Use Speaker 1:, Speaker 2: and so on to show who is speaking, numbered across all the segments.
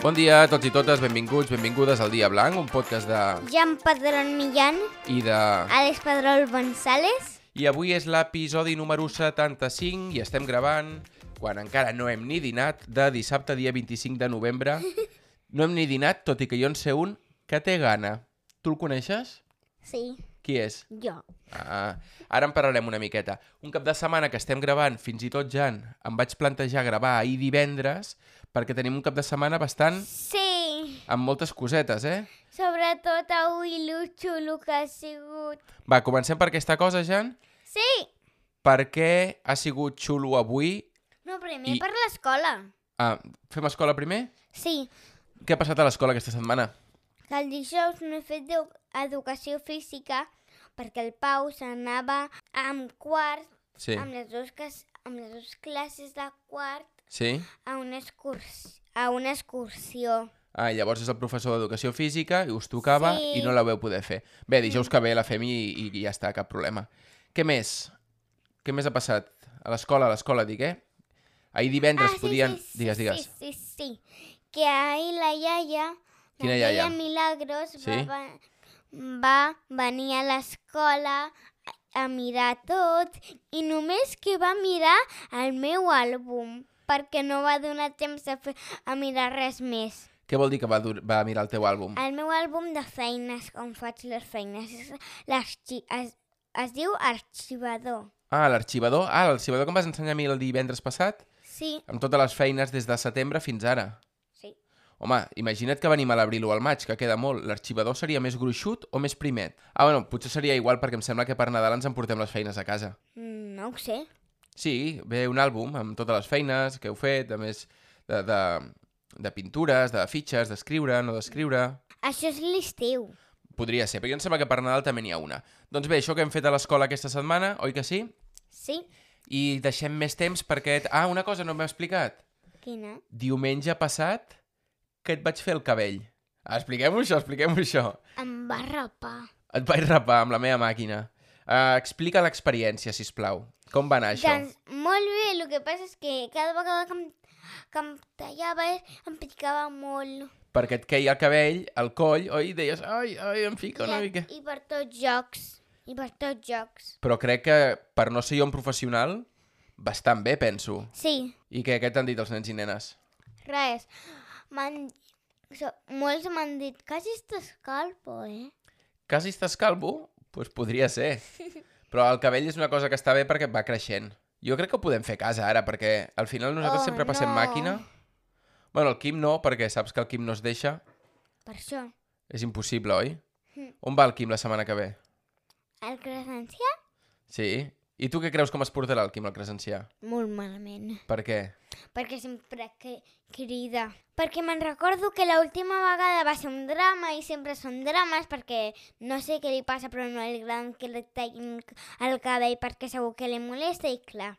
Speaker 1: Bon dia a tots i totes, benvinguts, benvingudes al Dia Blanc, un podcast de...
Speaker 2: Jan Padrón Millán,
Speaker 1: i de...
Speaker 2: Àlex Padrón González.
Speaker 1: I avui és l'episodi número 75 i estem gravant, quan encara no hem ni dinat, de dissabte dia 25 de novembre. No hem ni dinat, tot i que jo en sé un que té gana. Tu el coneixes?
Speaker 2: Sí,
Speaker 1: Qui és?
Speaker 2: jo.
Speaker 1: Ah, ara en parlarem una miqueta. Un cap de setmana que estem gravant, fins i tot, Jan, em vaig plantejar gravar ahir divendres perquè tenim un cap de setmana bastant
Speaker 2: Sí,
Speaker 1: amb moltes cosetes, eh?
Speaker 2: sobretot avui lo xulo que ha sigut.
Speaker 1: Va, comencem per aquesta cosa, Jan.
Speaker 2: Sí,
Speaker 1: Per què ha sigut xulo avui?
Speaker 2: no, primer
Speaker 1: I-
Speaker 2: per l'escola.
Speaker 1: Ah, fem escola primer?
Speaker 2: Sí,
Speaker 1: Què ha passat a l'escola aquesta setmana?
Speaker 2: que el dijous no he fet d'edu- educació física perquè el Pau s'anava amb quart,
Speaker 1: Sí.
Speaker 2: amb, les dues, cas- amb les dues classes de quart,
Speaker 1: Sí?
Speaker 2: a una, excurs a una excursió.
Speaker 1: Ah, llavors és el professor d'educació física i us tocava
Speaker 2: Sí.
Speaker 1: i no la veu poder fer. Bé, dijous que ve la fem i, i ja està, cap problema. Què més? Què més ha passat? A l'escola, a l'escola, dic, eh? Ahir divendres podien...
Speaker 2: Ah, Sí, sí,
Speaker 1: digues, digues.
Speaker 2: Sí, sí, sí. Que ahir la iaia,
Speaker 1: Quina
Speaker 2: la
Speaker 1: iaia?
Speaker 2: Milagros,
Speaker 1: Sí?
Speaker 2: va, va, va venir a l'escola a, a mirar tot i només que va mirar el meu àlbum perquè no va donar temps a, fer, a mirar res més.
Speaker 1: Què vol dir que va, dur... va mirar el teu àlbum?
Speaker 2: El meu àlbum de feines, on faig les feines, és l'arxi... Es, es diu Arxivador.
Speaker 1: Ah, l'arxivador. Ah, l'arxivador que em vas ensenyar a mi el divendres passat,
Speaker 2: Sí,
Speaker 1: amb totes les feines des de setembre fins ara.
Speaker 2: sí.
Speaker 1: Home, imagina't que venim a l'abril o al maig, que queda molt. L'arxivador seria més gruixut o més primet? Ah, bueno, potser seria igual perquè em sembla que per Nadal ens emportem les feines a casa.
Speaker 2: Mm, No ho sé.
Speaker 1: Sí, ve un àlbum amb totes les feines que heu fet, a més de, de, de pintures, de fitxes, d'escriure, no d'escriure...
Speaker 2: Això és l'estiu.
Speaker 1: Podria ser, però jo em sembla que per Nadal també n'hi ha una. Doncs bé, això que hem fet a l'escola aquesta setmana, oi que sí?
Speaker 2: Sí?
Speaker 1: I deixem més temps perquè... Ah, una cosa no m'he explicat.
Speaker 2: Quina?
Speaker 1: Diumenge passat que et vaig fer el cabell. Ah, Expliquem-ho això, expliquem-ho això.
Speaker 2: Em va rapar.
Speaker 1: Et vaig rapar amb la meva màquina. Uh, explica l'experiència, si plau. Com va anar això?
Speaker 2: Doncs molt bé, el que passa és que cada vegada que em, que em tallava eh, em picava molt.
Speaker 1: Perquè et queia el cabell, el coll, oi? I deies, ai, ai, em fica una
Speaker 2: I,
Speaker 1: mica.
Speaker 2: I per tots jocs. I per tots jocs.
Speaker 1: Però crec que, per no ser jo un professional, bastant bé, penso.
Speaker 2: Sí,
Speaker 1: I què, què t'han dit els nens i nenes?
Speaker 2: res. M'han... So, molts m'han dit, quasi estàs calvo, eh?
Speaker 1: Quasi estàs calvo? Doncs pues podria ser. Però el cabell és una cosa que està bé perquè va creixent. Jo crec que ho podem fer a casa ara, perquè al final nosaltres
Speaker 2: Oh,
Speaker 1: sempre passem
Speaker 2: no.
Speaker 1: màquina. Bueno, el Quim no, perquè saps que el Quim no es deixa.
Speaker 2: Per això.
Speaker 1: És impossible, oi?
Speaker 2: Mm.
Speaker 1: On va el Quim la setmana que ve?
Speaker 2: El cresencial?
Speaker 1: Sí. I tu què creus com es portarà el Quim el Cresencià?
Speaker 2: Molt malament.
Speaker 1: Per què?
Speaker 2: Perquè sempre que crida. Perquè me'n recordo que l'última vegada va ser un drama i sempre són drames perquè no sé què li passa però no li agraden que li tallin el cabell perquè segur que li molesta i clar.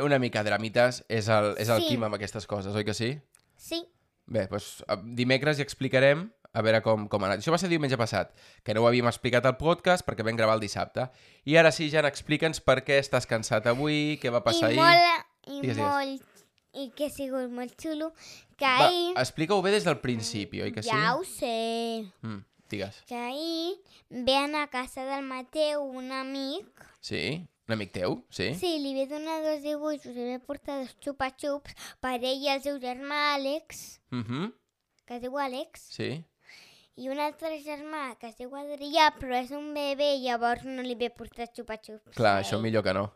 Speaker 1: Una mica dramites és el, és el sí.
Speaker 2: Sí.
Speaker 1: Quim amb aquestes coses, oi que sí?
Speaker 2: Sí,
Speaker 1: Bé, doncs eh, dimecres hi explicarem a veure com, com ha anat. Això va ser diumenge passat, que no ho havíem explicat al podcast perquè vam gravar el dissabte. I ara sí, Jan, explica'ns per què estàs cansat avui, què va passar
Speaker 2: i
Speaker 1: ahir...
Speaker 2: molt, i
Speaker 1: Digues, digues.
Speaker 2: molt, i que ha sigut molt xulo que
Speaker 1: Va,
Speaker 2: ahir,
Speaker 1: explica-ho bé des del principi, oi que sí?
Speaker 2: ja ho sé,
Speaker 1: Mm, digues.
Speaker 2: que ahir ve anar a casa del Mateu un amic
Speaker 1: Sí? Un amic teu? Sí?
Speaker 2: Sí, li ve donar dos dibuixos, li ve portar dos xupa-xups per ell i el seu germà Àlex,
Speaker 1: Mm -hmm.
Speaker 2: que es diu Àlex,
Speaker 1: Sí?
Speaker 2: i un altre germà que es diu Adrià, però és un bebè i llavors no li ve portar xupa-xups.
Speaker 1: Clar,
Speaker 2: a
Speaker 1: això
Speaker 2: ell.
Speaker 1: millor que no.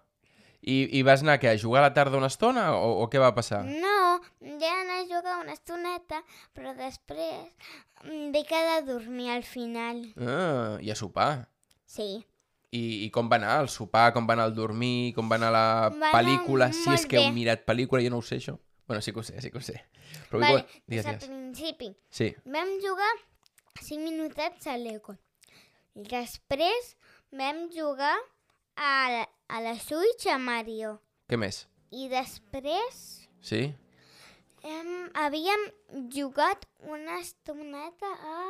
Speaker 1: I, I vas anar, què, a jugar a la tarda una estona o, o què va passar?
Speaker 2: No, ja anar a jugar una estoneta, però després mm, ve quedar a dormir al final.
Speaker 1: Ah, i a sopar.
Speaker 2: Sí.
Speaker 1: I, I com va anar el sopar, com va anar el dormir, com va anar la
Speaker 2: Va anar
Speaker 1: pel·lícula, si és
Speaker 2: molt
Speaker 1: que heu
Speaker 2: bé.
Speaker 1: mirat pel·lícula, jo no ho sé, això. Bueno, sí que ho sé, sí que ho sé. Però
Speaker 2: vale,
Speaker 1: vull... que- Digues,
Speaker 2: des del
Speaker 1: digues.
Speaker 2: principi.
Speaker 1: Sí,
Speaker 2: Vam jugar 5 minutets a l'Eco. I després vam jugar a la, a la Switch a Mario.
Speaker 1: què més?
Speaker 2: I després
Speaker 1: Sí?
Speaker 2: hem, havíem jugat una estoneta a...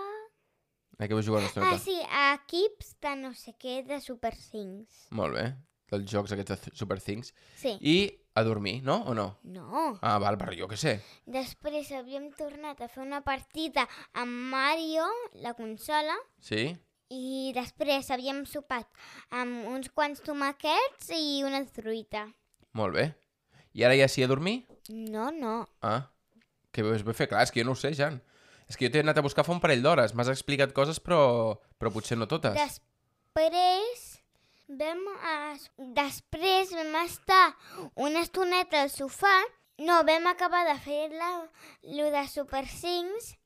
Speaker 1: A què vas jugar una estoneta?
Speaker 2: Ah, sí, a equips de no sé què, de Super 5.
Speaker 1: Molt bé. Dels jocs aquests de Super Things.
Speaker 2: Sí.
Speaker 1: I A dormir, no? O no?
Speaker 2: No.
Speaker 1: Ah, val, per jo què sé.
Speaker 2: Després havíem tornat a fer una partida amb Mario, la consola,
Speaker 1: Sí?
Speaker 2: i després havíem sopat amb uns quants tomaquets i una truita.
Speaker 1: Molt bé. I ara ja sí a dormir?
Speaker 2: No, no.
Speaker 1: Ah, que bé es va fer. Clar, és que jo no ho sé, Jan. És que jo t'he anat a buscar fa un parell d'hores. M'has explicat coses, però, però potser no totes.
Speaker 2: Després vam, a... després vam estar una estoneta al sofà. No, vam acabar de fer la, lo de Super 5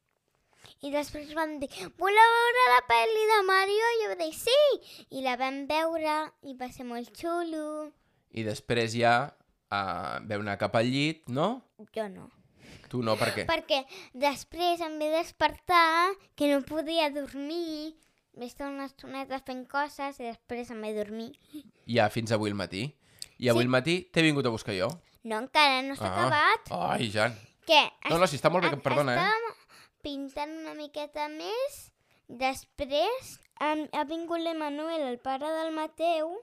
Speaker 2: i després vam dir, voleu veure la pel·li de Mario? I jo vaig dir, sí! I la vam veure i va ser molt xulo.
Speaker 1: I després ja uh, veu anar cap al llit, no?
Speaker 2: Jo no.
Speaker 1: Tu no, per què?
Speaker 2: Perquè després em vaig despertar, que no podia dormir. Vaig estar una estoneta fent coses i després em vaig dormir.
Speaker 1: Ja fins avui al matí. I avui al matí t'he vingut a buscar jo.
Speaker 2: No, encara no s'ha
Speaker 1: Ah.
Speaker 2: acabat.
Speaker 1: Ai, Jan.
Speaker 2: Què?
Speaker 1: No, no, sí, està molt bé, que- perdona, eh?
Speaker 2: estàvem pintant una miqueta més. Després em, ha vingut l'Emanuel, el pare del Mateu,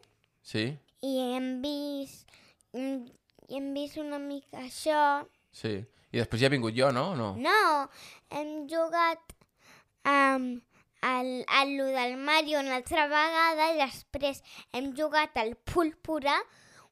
Speaker 1: Sí,
Speaker 2: i hem vist, mm, i hem vist una mica això.
Speaker 1: sí. I després ja he vingut jo, no? O no?
Speaker 2: No, hem jugat um, al, al lo del Mario una altra vegada i després hem jugat al Púrpura,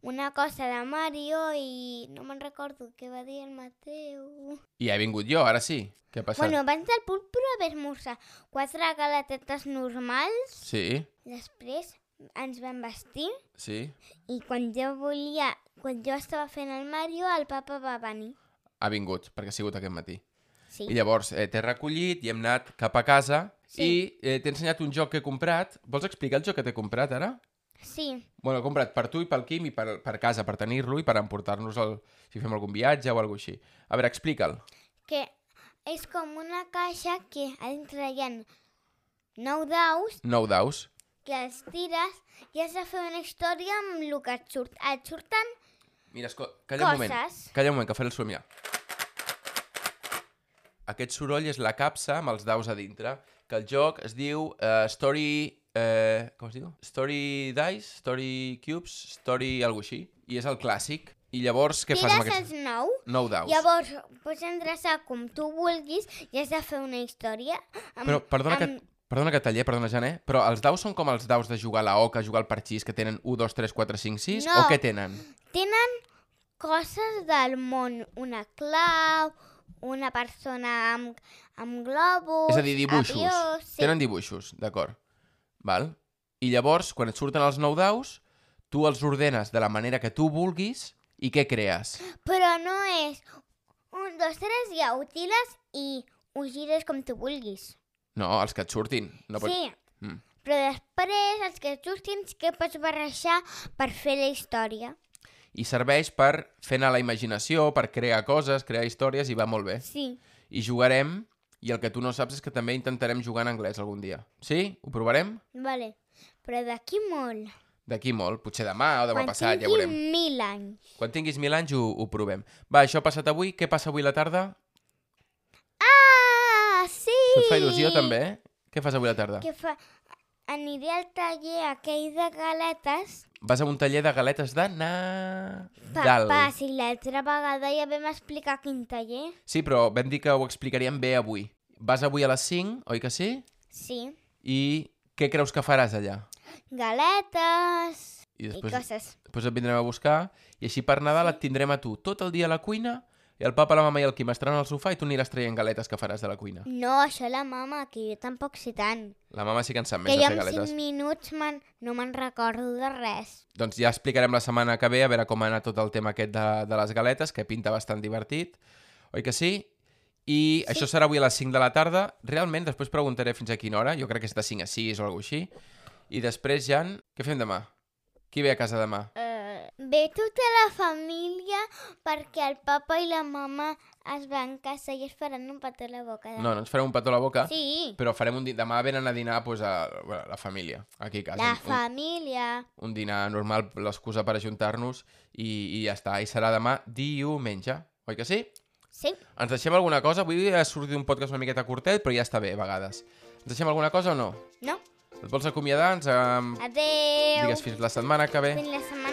Speaker 2: una cosa de Mario i no me'n recordo què va dir el Mateu.
Speaker 1: I ja he vingut jo, ara sí. Què ha passat?
Speaker 2: Bueno, abans del Púrpura vam esmorzar quatre galatetes normals,
Speaker 1: Sí,
Speaker 2: després ens vam vestir
Speaker 1: sí.
Speaker 2: i quan jo volia, quan jo estava fent el Mario, el papa va venir.
Speaker 1: Ha vingut, perquè ha sigut aquest matí.
Speaker 2: Sí.
Speaker 1: I llavors eh, t'he recollit i hem anat cap a casa
Speaker 2: Sí.
Speaker 1: i eh, t'he ensenyat un joc que he comprat. Vols explicar el joc que t'he comprat ara?
Speaker 2: Sí,
Speaker 1: Bueno, he comprat per tu i pel Quim i per, per casa, per tenir-lo i per emportar-nos el, si fem algun viatge o alguna així. A veure, explica'l.
Speaker 2: que és com una caixa que a dintre hi ha nou daus
Speaker 1: Nou daus.
Speaker 2: que els tires i has de fer una història amb el que et surt. Et surten...
Speaker 1: Mira, esco... calla un moment.
Speaker 2: Coses.
Speaker 1: Calla un moment, que faré el somiar. Aquest soroll és la capsa amb els daus a dintre, que el joc es diu eh, Story... Eh, com es diu? Story Dice, Story Cubes, Story alguna així. I és el clàssic. I llavors què fas
Speaker 2: Tires
Speaker 1: amb
Speaker 2: els
Speaker 1: aquests
Speaker 2: nou,
Speaker 1: nou daus?
Speaker 2: llavors pots endreçar com tu vulguis i has de fer una història. Amb,
Speaker 1: Però perdona
Speaker 2: amb...
Speaker 1: que... Perdona que taller, perdona, Jané, però els daus són com els daus de jugar a la oca, jugar al parxís, que tenen 1, 2, 3, 4, 5, 6,
Speaker 2: No.
Speaker 1: o què tenen?
Speaker 2: Tenen coses del món, una clau, una persona amb, amb globus,
Speaker 1: És a dir, dibuixos.
Speaker 2: Aviós, sí.
Speaker 1: Tenen dibuixos, d'acord. Val? I llavors, quan et surten els nou daus, tu els ordenes de la manera que tu vulguis i què crees?
Speaker 2: Però no és un, dos, tres, ja ho tires i ho gires com tu vulguis.
Speaker 1: No, els que et surtin. No pots...
Speaker 2: Sí,
Speaker 1: Mm.
Speaker 2: però després els que justin sí que pots barrejar per fer la història.
Speaker 1: I serveix per fer anar la imaginació, per crear coses, crear històries i va molt bé.
Speaker 2: Sí,
Speaker 1: I jugarem, i el que tu no saps és que també intentarem jugar en anglès algun dia. Sí? Ho provarem?
Speaker 2: vale. Però d'aquí molt.
Speaker 1: D'aquí molt, potser demà o demà
Speaker 2: quan
Speaker 1: passat, ja
Speaker 2: tingui
Speaker 1: veurem.
Speaker 2: mil anys.
Speaker 1: Quan tinguis mil anys ho, ho provem. Va, això ha passat avui. Què passa avui a la tarda?
Speaker 2: Ah, sí!
Speaker 1: Això et fa il·lusió també, eh? Què fas avui a la tarda?
Speaker 2: Que fa... Aniré al taller aquell de galetes.
Speaker 1: Vas a un taller de galetes de Nadal.
Speaker 2: Papà, si l'altra vegada ja vam explicar quin taller.
Speaker 1: Sí, però vam dir que ho explicaríem bé avui. Vas avui a les 5, oi que sí?
Speaker 2: Sí.
Speaker 1: I què creus que faràs allà?
Speaker 2: Galetes
Speaker 1: I
Speaker 2: i
Speaker 1: després,
Speaker 2: coses.
Speaker 1: després et vindrem a buscar i així per Nadal et tindrem a tu tot el dia a la cuina i el papa, la mama i el Quim estaran al sofà i tu aniràs traient galetes que faràs de la cuina.
Speaker 2: No, això la mama, que jo tampoc sé tant.
Speaker 1: La mama sí que en sap
Speaker 2: Que
Speaker 1: més
Speaker 2: jo
Speaker 1: de
Speaker 2: en
Speaker 1: fer
Speaker 2: 5
Speaker 1: galetes.
Speaker 2: minuts man, no me'n recordo de res.
Speaker 1: Doncs ja explicarem la setmana que ve a veure com ha anat tot el tema aquest de, de les galetes, que pinta bastant divertit, oi que sí? I sí. això serà avui a les 5 de la tarda. Realment, després preguntaré fins a quina hora, jo crec que és de 5 a 6 o alguna així. I després, Jan, què fem demà? Qui ve a casa demà?
Speaker 2: Uh... Ve tota la família perquè el papa i la mama es van casar i es faran un petó a la boca. De...
Speaker 1: No, no ens farem un petó a la boca, Eh. sí.
Speaker 2: Sí,
Speaker 1: però farem un din... demà venen a dinar pues, a, bueno, a la família, aquí a casa.
Speaker 2: la
Speaker 1: Un- un-
Speaker 2: família.
Speaker 1: un dinar normal, l'excusa per ajuntar-nos i, i ja està. I serà demà diumenge, oi que sí?
Speaker 2: Sí,
Speaker 1: Ens deixem alguna cosa? Avui ha sortit un podcast una miqueta curtet, però ja està bé, a vegades. Ens deixem alguna cosa o no?
Speaker 2: no?
Speaker 1: Et vols acomiadar? Ens, um,
Speaker 2: Adeu.
Speaker 1: digues fins la setmana que ve.
Speaker 2: Fins la setmana